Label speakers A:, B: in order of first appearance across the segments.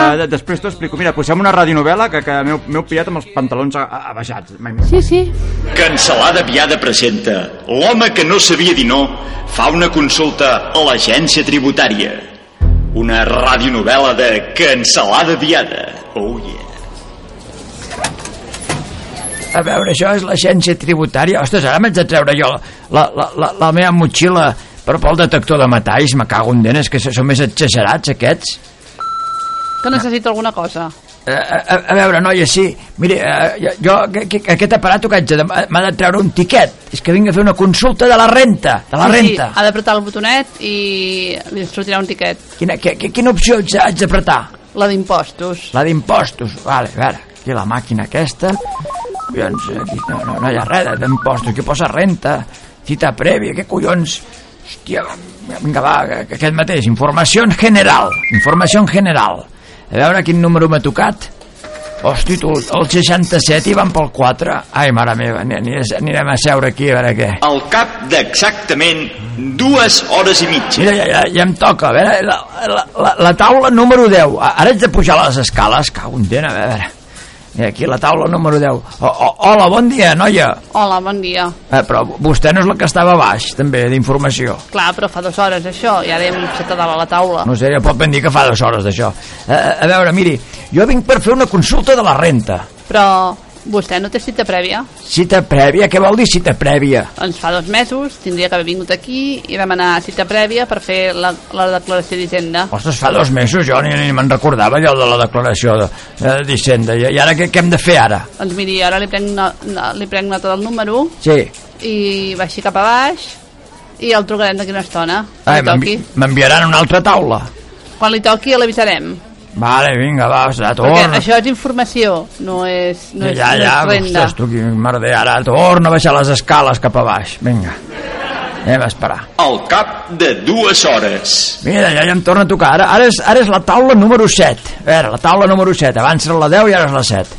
A: Uh, de- després t'ho explico. Mira, posem una radionovel·la que, que m'heu m'heu pillat amb els pantalons a- a- abaixats.
B: Sí, sí.
C: Cancelada Viada presenta L'home que no sabia dir no fa una consulta a l'agència tributària. Una radionovel·la de Cancelada Viada. Oh yeah.
A: A veure, això és l'agència tributària. Ostres, ara m'haig de treure jo la, la, la, la, la meva motxilla però pel detector de metalls, me cago en denes, que són més exagerats aquests.
B: Que necessito alguna cosa.
A: Eh, a, a veure, noia, sí, miri, eh, jo que- que- aquest aparato que haig de... demà- m'ha de treure un tiquet, és que vinc a fer una consulta de la renta, de la
B: Sí, sí,
A: renta.
B: ha d'apretar el botonet i li sortirà un tiquet.
A: Quina, que, que, quina opció haig, haig d'apretar?
B: La d'impostos.
A: La d'impostos, vale, a veure, aquí la màquina aquesta, collons, aquí no, no, no hi ha res d'impostos, aquí posa renta, cita prèvia, què collons, hòstia, vinga va, que- que aquest mateix, informació en general, informació en general, a veure quin número m'ha tocat, Hosti, tu, el 67 i van pel 4. Ai, mare meva, ani- aniré- anirem a seure aquí a veure què.
C: Al cap d'exactament dues hores i mitja.
A: Mira, ja, ja, ja em toca, a veure, la, la, la, la taula número 10. A- Ara haig de pujar les escales, cago en dent, a veure. Mira, aquí la taula número 10. O, o, hola, bon dia, noia.
B: Hola, bon dia.
A: Eh, però vostè no és la que estava a baix, també, d'informació.
B: Clar, però fa dues hores això, i ara hem set a dalt a la taula.
A: No sé, ja pot ben dir que fa dues hores d'això. Eh, a veure, miri, jo vinc per fer una consulta de la renta.
B: Però vostè no té cita prèvia?
A: Cita prèvia, què vol dir cita prèvia?
B: Doncs fa dos mesos tindria que haver vingut aquí i demanar cita prèvia per fer la, la declaració d'Hisenda.
A: Ostres, fa dos mesos jo ni, ni me'n recordava allò de la declaració de- eh, d'Hisenda. I, I ara què, què hem de fer ara?
B: Doncs miri, ara li prenc, no, no, li prenc nota del número
A: Sí.
B: i baixi cap a baix i el trucarem d'aquí una estona. Quan
A: Ai,
B: li toqui.
A: Ah, m'envi- m'enviaran a una altra taula.
B: Quan li toqui l'avisarem.
A: Vale, vinga, va, serà
B: Perquè
A: torna.
B: això és informació, no és, no és,
A: ja,
B: no
A: ja,
B: és renda.
A: ostres, tu, quin merder, ara torna a baixar les escales cap a baix. Vinga, anem a esperar.
C: Al cap de dues hores.
A: Mira, ja, ja em torna a tocar. Ara, ara, és, ara és la taula número 7. A veure, la taula número 7. Abans era la 10 i ara és la 7.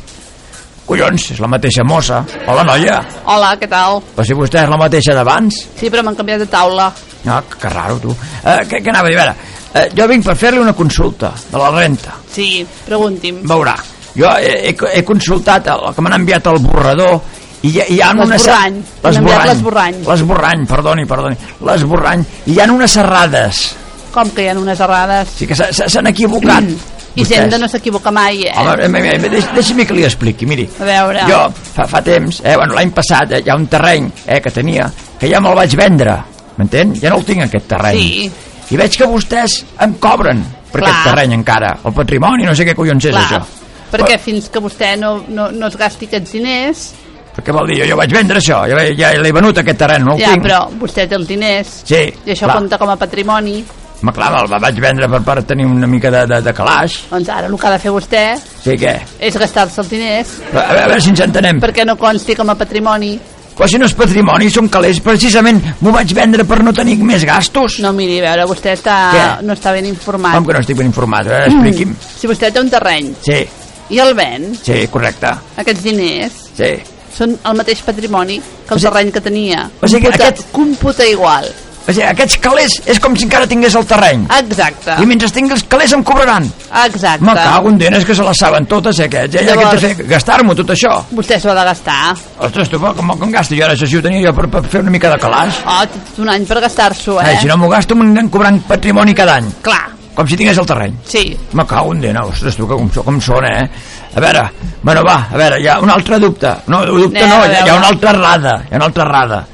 A: Collons, és la mateixa mossa. Hola, noia.
B: Hola, què tal?
A: Però si vostè és la mateixa d'abans.
B: Sí, però m'han canviat de taula.
A: No, que, que raro, tu. Eh, què, què anava a dir? A veure, eh, jo vinc per fer-li una consulta de la renta.
B: Sí, pregunti'm.
A: veurà. Jo he, he, he consultat el que m'han enviat el borrador i hi, ha- hi ha una... ser-
B: L'esborrany. M'han enviat l'esborrany.
A: L'esborrany, perdoni, perdoni. L'esborrany. I hi ha unes serrades.
B: Com que hi ha unes errades?
A: Sí que s'ha- s'ha- s'han equivocat.
B: Hisenda no s'equivoca mai, eh?
A: Home, eh, eh, eh, deix, deixi'm que li expliqui, miri.
B: A veure.
A: Jo, fa, fa temps, eh, bueno, l'any passat, eh, hi ha un terreny eh, que tenia, que ja me'l vaig vendre, m'entén? Ja no el tinc, aquest terreny.
B: Sí.
A: I veig que vostès em cobren per
B: Clar.
A: aquest terreny encara, el patrimoni, no sé què collons és
B: Clar,
A: això.
B: perquè fins que vostè no, no, no es gasti aquests diners...
A: Però què vol dir? Jo, jo vaig vendre això, jo, ja l'he venut aquest terreny, no el
B: ja,
A: tinc.
B: però vostè té els diners.
A: Sí,
B: I això
A: clar.
B: compta com a patrimoni.
A: Ma, clar, el va- vaig vendre per, per tenir una mica de, de, de calaix.
B: Doncs ara el que ha de fer vostè
A: Sí, què?
B: és gastar-se els diners
A: A, a veure si ens entenem. Per...
B: perquè no consti com a patrimoni.
A: Però si no és patrimoni, són calés, precisament m'ho vaig vendre per no tenir més gastos.
B: No, miri, a veure, vostè està,
A: Què?
B: no està ben informat.
A: Com que no estic ben informat? A veure, expliqui'm.
B: Si vostè té un terreny
A: Sí,
B: i el ven,
A: sí, correcte.
B: aquests diners
A: Sí.
B: són el mateix patrimoni
A: O
B: que el
A: sigui-
B: terreny que tenia.
A: o sigui que
B: computa,
A: aquest-
B: computa igual.
A: O sigui, aquests calés és com si encara tingués el terreny.
B: Exacte.
A: I mentre tingui els calés em cobraran.
B: Exacte.
A: Me cago en denes que se les saben totes, eh, aquests. Ja, ja que
B: Llavors-
A: he de fer gastar-m'ho, tot això.
B: Vostè s'ho ha de gastar.
A: Ostres, tu, com, com gasto? Jo ara això sí ho tenia jo per, per fer una mica de calaix.
B: Oh, tens un any per gastar-s'ho, eh?
A: Ai, si no m'ho gasto, m'aniran cobrant patrimoni cada any.
B: Clar,
A: Com si tingués el terreny.
B: sí.
A: Me cago en dena, ostres, tu, que com, so- com sona, eh? A veure, bueno, va, a veure, hi ha un altre dubte. No, dubte
B: Anem a
A: no, hi ha, hi ha
B: veure.
A: una altra errada, hi ha una altra errada.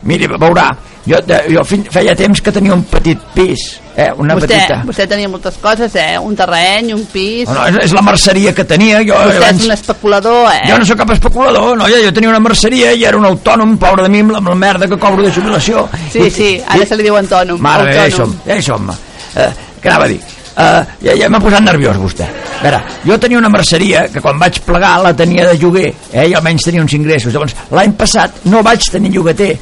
A: Miri, veurà, jo, de- jo fin, feia temps que tenia un petit pis, eh, una
B: vostè,
A: petita...
B: vostè tenia moltes coses, eh? Un terreny, un pis...
A: Oh, No, és, és la merceria que tenia, jo...
B: vostè
A: abans-
B: és un especulador, eh?
A: Jo no sóc cap especulador, no, jo, jo tenia una merceria i era un autònom, pobre de mi, amb la, amb la merda que cobro de jubilació.
B: Sí, sí, ara se li diu autònom.
A: Mare, ja hi
B: autònom.
A: som, ja hi som. Eh, què anava a dir? eh, ja, ja m'ha posat nerviós vostè. A veure, jo tenia una merceria que quan vaig plegar la tenia de lloguer, eh, i almenys tenia uns ingressos. Llavors, l'any passat no vaig tenir llogater,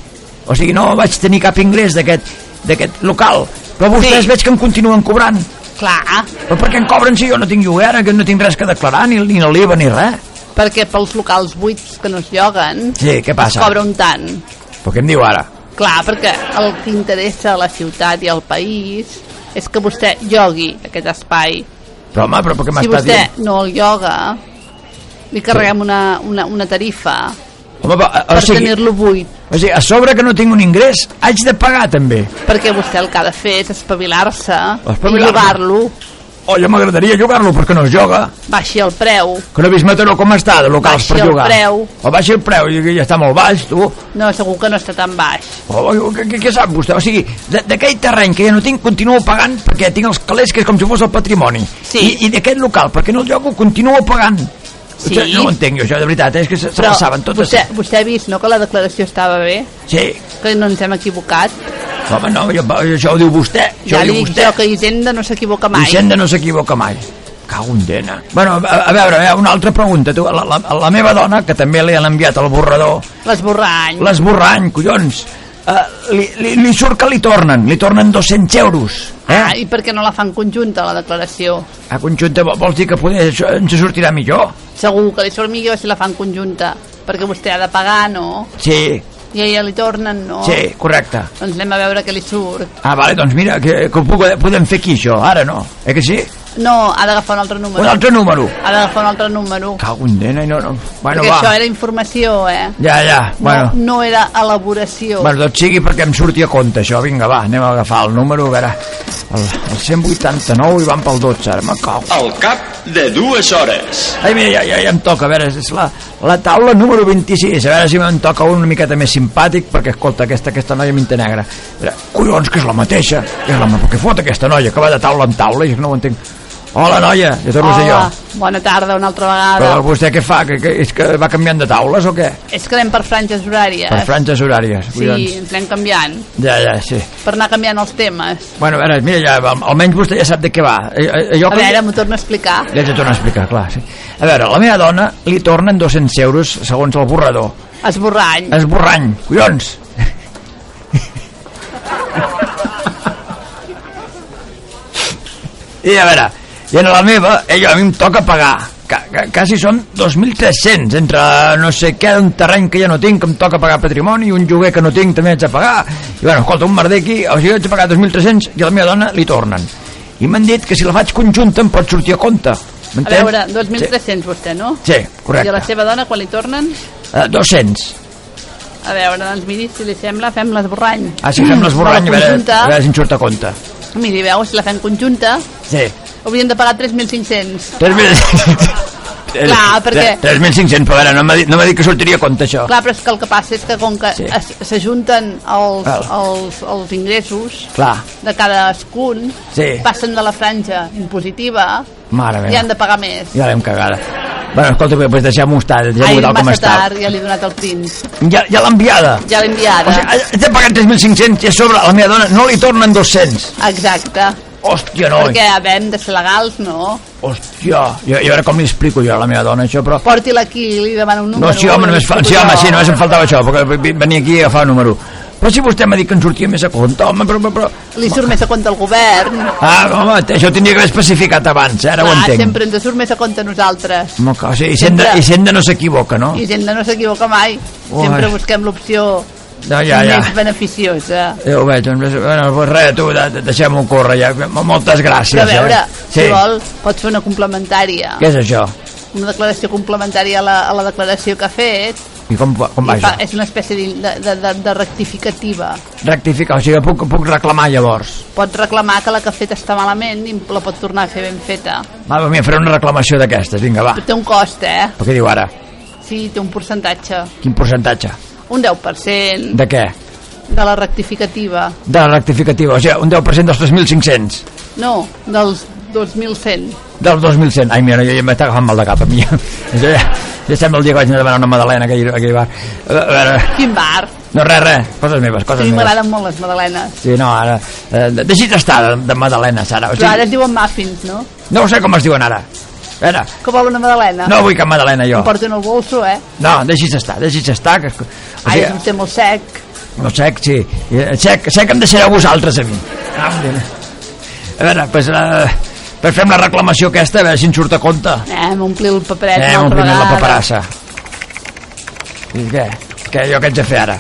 A: o sigui, no vaig tenir cap ingrés d'aquest d'aquest local, però vostès
B: Sí.
A: veig que em continuen cobrant.
B: Clar,
A: Però per què em cobren si jo no tinc lloguer, ara, que no tinc res que declarar, ni, ni l'IVA ni res?
B: perquè pels locals buits que no es lloguen
A: Sí, què
B: es
A: passa?
B: cobra un tant.
A: Però què em diu ara?
B: Clar, perquè el que interessa a la ciutat i al país és que vostè llogui aquest espai.
A: Però home, però per què
B: Si
A: m'està
B: vostè
A: dient?
B: no el lloga, li carreguem una, una, una tarifa
A: Home, però,
B: per
A: o, sigui,
B: tenir-lo buit,
A: o sigui, a sobre que no tinc un ingrés, haig de pagar també.
B: perquè vostè el que ha de fer és espavilar-se i
A: Espavilar-me.
B: llogar-lo,
A: Oh, jo m'agradaria llogar-lo perquè no es lloga.
B: baixi el preu.
A: Que no he vist Mataró com està de locals
B: Baixi
A: per
B: el
A: llogar.
B: preu.
A: O baixi el preu, i ja està molt baix, tu. O,
B: No, segur que no està tan baix.
A: o, què, què- què sap vostè? O sigui, de- d'aquell terreny que ja no tinc, continuo pagant perquè tinc els calés, que és com si fos el patrimoni.
B: Sí.
A: I, i d'aquest local, perquè no el llogo, continuo pagant.
B: Sí.
A: Ostres, No ho entenc jo, això, de veritat, eh? és que se, se la saben totes. eh?
B: vostè, vostè ha vist, no?, que la declaració estava bé,
A: Sí,
B: que no ens hem equivocat.
A: home, no, jo, això ho diu vostè, això
B: ja
A: ho
B: li
A: diu
B: dic
A: vostè.
B: jo que Hisenda no s'equivoca mai.
A: Hisenda no s'equivoca mai. Cago en dena. Bueno, a, a veure, eh, una altra pregunta. Tu, la, la, la meva dona, que també li han enviat el borrador,
B: L'esborrany.
A: l'esborrany, collons, eh, li, li, li surt que li tornen, li tornen 200 euros. Eh?
B: Ah, i per què no la fan conjunta, la declaració?
A: A conjunta vol- vols dir que poder, això ens sortirà millor?
B: Segur que li surt millor si la fan conjunta, perquè vostè ha de pagar, no?
A: Sí,
B: I a ella li tornen, no?
A: sí, correcte.
B: Doncs anem a veure què li surt.
A: Ah, vale, doncs mira, que, que ho puc, podem fer aquí, això, ara no. Eh que sí?
B: No, ha d'agafar un altre número.
A: Un altre número.
B: Ha d'agafar un altre número.
A: Cago en dena, i no, no. Bueno,
B: perquè això
A: va.
B: era informació, eh?
A: Ja, ja, bueno.
B: No, no era elaboració.
A: Bueno, doncs sigui perquè em surti a compte això. Vinga, va, anem a agafar el número, a veure... El, el 189 i van pel 12, ara me cau.
C: Al cap de dues hores.
A: Ai, mira, ja, ja, ja em toca, a veure, és la, la taula número 26, a veure si me'n toca un una miqueta més simpàtic, perquè, escolta, aquesta, aquesta noia m'inta negra. A veure, collons, que és la mateixa, que és la ma- què fot aquesta noia, que va de taula en taula, i no ho entenc. Hola, noia, ja torno a ser jo.
B: Hola, Ah, bona tarda una altra vegada.
A: Però vostè què fa, que, que, és que va canviant de taules o què?
B: És que anem per franges horàries.
A: Per franges horàries,
B: Eh. Sí,
A: collons.
B: ens anem canviant.
A: Ja, ja, sí.
B: Per anar canviant els temes.
A: Bueno, a veure, mira, ja, al- almenys vostè ja sap de què va. Eh, eh, Jo,
B: A
A: quan-
B: veure, m'ho torno a explicar.
A: Li haig de tornar a explicar, clar, sí. A veure, a la meva dona li tornen 200 euros segons el borrador.
B: Esborrany.
A: Esborrany, collons! I a veure, i en la meva, ella a mi em toca pagar. Ca, ca, quasi són 2.300 entre no sé què, un terreny que ja no tinc que em toca pagar patrimoni, un lloguer que no tinc també haig de pagar, i bueno, escolta, un merder aquí o sigui, haig de pagar 2.300 i a la meva dona li tornen i m'han dit que si la faig conjunta em pot sortir a compte
B: A veure, 2.300 vostè, no?
A: sí, correcte
B: I a la seva dona, quan li tornen?
A: Eh, 200
B: A veure, doncs miri, si li sembla, fem l'esborrany.
A: Ah, si fem l'esborrany, a,
B: De la
A: veure-
B: conjunta,
A: a veure si en surt a compte.
B: Miri, veu, si la fem conjunta,
A: Sí.
B: hauríem de pagar 3.500.
A: 3.000...
B: Clar, perquè-
A: 3.500, però a veure, no m'ha dit, no m'ha dit que sortiria a compte això.
B: Clar, però és que el que passa és que com que
A: Sí.
B: es- s'ajunten els,
A: Val.
B: els, els ingressos
A: Clar.
B: de cadascun,
A: Sí.
B: passen de la franja impositiva
A: Mare meva.
B: i han de pagar més.
A: Ja l'hem cagada. Bueno, escolta, doncs deixem-ho estar,
B: Ai,
A: deixem-ho tal com
B: massa
A: està.
B: tard, ja li he donat el print.
A: Ja, ja l'ha enviada.
B: Ja l'he
A: O sigui,
B: enviada.
A: ha- haig de pagar 3.500 i a sobre a la meva dona no li tornen 200.
B: Exacte.
A: Hòstia, noi.
B: Perquè, a veure, hem de ser legals, no?
A: Hòstia. Jo, jo a veure com li explico jo a la meva dona això, però...
B: Porti-la aquí i li demano un número.
A: No, sí, home,
B: i li
A: només, fa, sí,
B: explico
A: home,
B: jo.
A: sí, només em faltava això, perquè venia aquí a agafar el número. Però si vostè m'ha dit que en sortia més a compte, home, però... però, però
B: Li surt més a compte el govern.
A: Ah, home, t- això tindria que haver especificat abans, eh, ara ho
B: Clar,
A: entenc.
B: sempre ens surt més a compte a nosaltres.
A: Home, clar, sí, Hisenda,
B: Sempre.
A: Hisenda no s'equivoca, no?
B: I gent no s'equivoca mai.
A: Ui.
B: Sempre busquem l'opció
A: No, ja, ja.
B: més beneficiosa.
A: Ja ho veig, doncs, bueno, doncs res, tu, de- de- deixem-ho córrer, ja. Mo- Moltes gràcies,
B: Però a veure,
A: eh?
B: si vol, pots fer una complementària.
A: Què és això?
B: Una declaració complementària a la, a la declaració que ha fet.
A: I com, va- com
B: I
A: va
B: fa,
A: això?
B: és una espècie de, de, de, de, de rectificativa.
A: Rectificar, o sigui, puc, puc reclamar llavors.
B: Pots reclamar que la que ha fet està malament i la pot tornar a fer ben feta.
A: Va, va, mira, faré una reclamació d'aquestes, vinga, va.
B: Però té un cost, eh?
A: Però què diu ara?
B: Sí, té un percentatge.
A: Quin percentatge?
B: Un 10% de,
A: De què?
B: de la rectificativa.
A: De la rectificativa, o sigui, un 10% dels 3.500.
B: No, dels 2.100.
A: del 2100. Ai, mira, jo ja m'està agafant mal de cap a mi. Jo ja, ja sembla el dia que vaig anar a demanar una madalena a aquell, a aquell bar. A veure,
B: Quin bar?
A: No, res, res, coses meves,
B: A
A: coses
B: mi
A: meves.
B: m'agraden molt les madalenes.
A: Sí, no, ara... Eh, de- deixi't estar de, de Madalena, Sara. O
B: Però ara
A: sigui,
B: es diuen muffins, no?
A: no ho sé com es diuen ara. A veure,
B: Que vol una madalena?
A: no vull cap Madalena, jo.
B: Em porto en el bolso, eh?
A: No, deixi's estar, deixi's estar. Que, o
B: Ai,
A: sigui,
B: és un té molt sec.
A: no sec, sí. Eh, Sec, sec em deixareu vosaltres a mi. Ah, mira. A veure, pues, eh, pues fem la reclamació aquesta, a veure si ens surt a compte.
B: Eh, m'ompli el paperet
A: Eh,
B: una
A: un
B: altra
A: primer la
B: vegada.
A: paperassa. I què? Què, jo què haig de fer ara?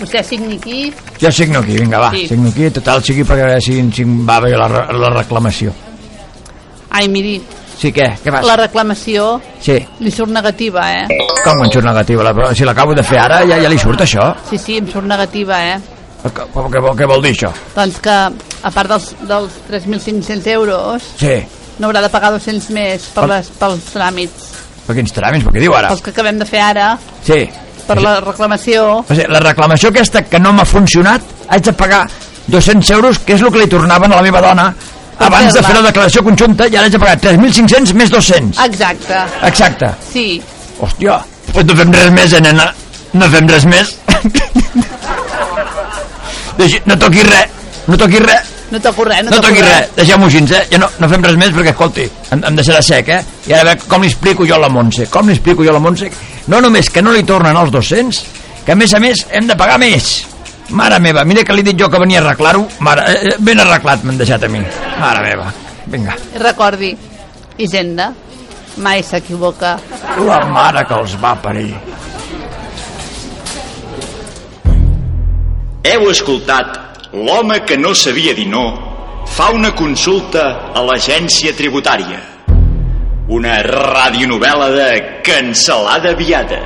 B: Vostè signi aquí.
A: Jo signo aquí, vinga, va,
B: Sí.
A: signo aquí, total, sigui perquè a veure si, si em va bé la, re- la reclamació.
B: Ai, miri,
A: Sí, què? Què vas?
B: la reclamació
A: Sí.
B: li surt negativa, eh?
A: Com em surt negativa? La, si l'acabo de fer ara, ja, ja li surt això?
B: Sí, sí, em surt negativa, eh?
A: Com, com- què, vol, què vol dir això?
B: Doncs que, a part dels, dels 3.500 euros,
A: Sí.
B: no haurà de pagar 200 més per
A: Per-
B: les, pels tràmits.
A: Per quins tràmits? Per què diu ara?
B: Pels que acabem de fer ara,
A: Sí.
B: per la reclamació,
A: O sigui, la reclamació aquesta que no m'ha funcionat, haig de pagar 200 euros, que és el que li tornaven a la meva dona abans de
B: fer-la.
A: fer la declaració conjunta, i ara haig de pagar 3.500 més 200.
B: exacte,
A: Exacte.
B: sí.
A: Hòstia, pues no fem res més, eh, nena. No fem res més. Deixi, no toquis res, no toquis res,
B: No toco res, no,
A: no
B: toco
A: toquis res. Deixem-ho així, eh? Ja no, no fem res més perquè, escolti, em, em deixarà sec, eh? I ara a veure com li explico jo a la Montse. Com li explico jo a la Montse? No només que no li tornen els 200, que a més a més hem de pagar més. Mare meva, mira que li he dit jo que venia a arreglar-ho. Mare, eh, eh, ben arreglat m'han deixat a mi. Mare meva. Vinga.
B: Recordi, Hisenda mai s'equivoca.
A: La mare que els va parir.
C: Heu escoltat L'home que no sabia dir no fa una consulta a l'agència tributària. Una radionovel·la de cancel·lada aviada.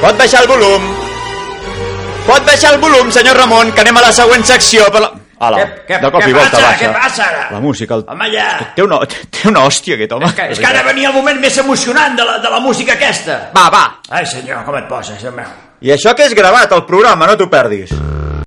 D: Pot baixar el volum. Pot baixar el volum, senyor Ramon, que anem a la següent secció. Per la... Ala,
A: Què- què-
D: de cop
A: què
D: i volta
A: passa?
D: baixa.
A: Què passa ara?
D: La música... El...
A: Home, ja.
D: Té una, té una hòstia, aquest home.
A: Que, és que ara venia el moment més emocionant de la, de la música aquesta.
D: Va, va.
A: Ai, senyor, com et poses, senyor meu?
D: I això que és gravat, el programa, no t'ho perdis.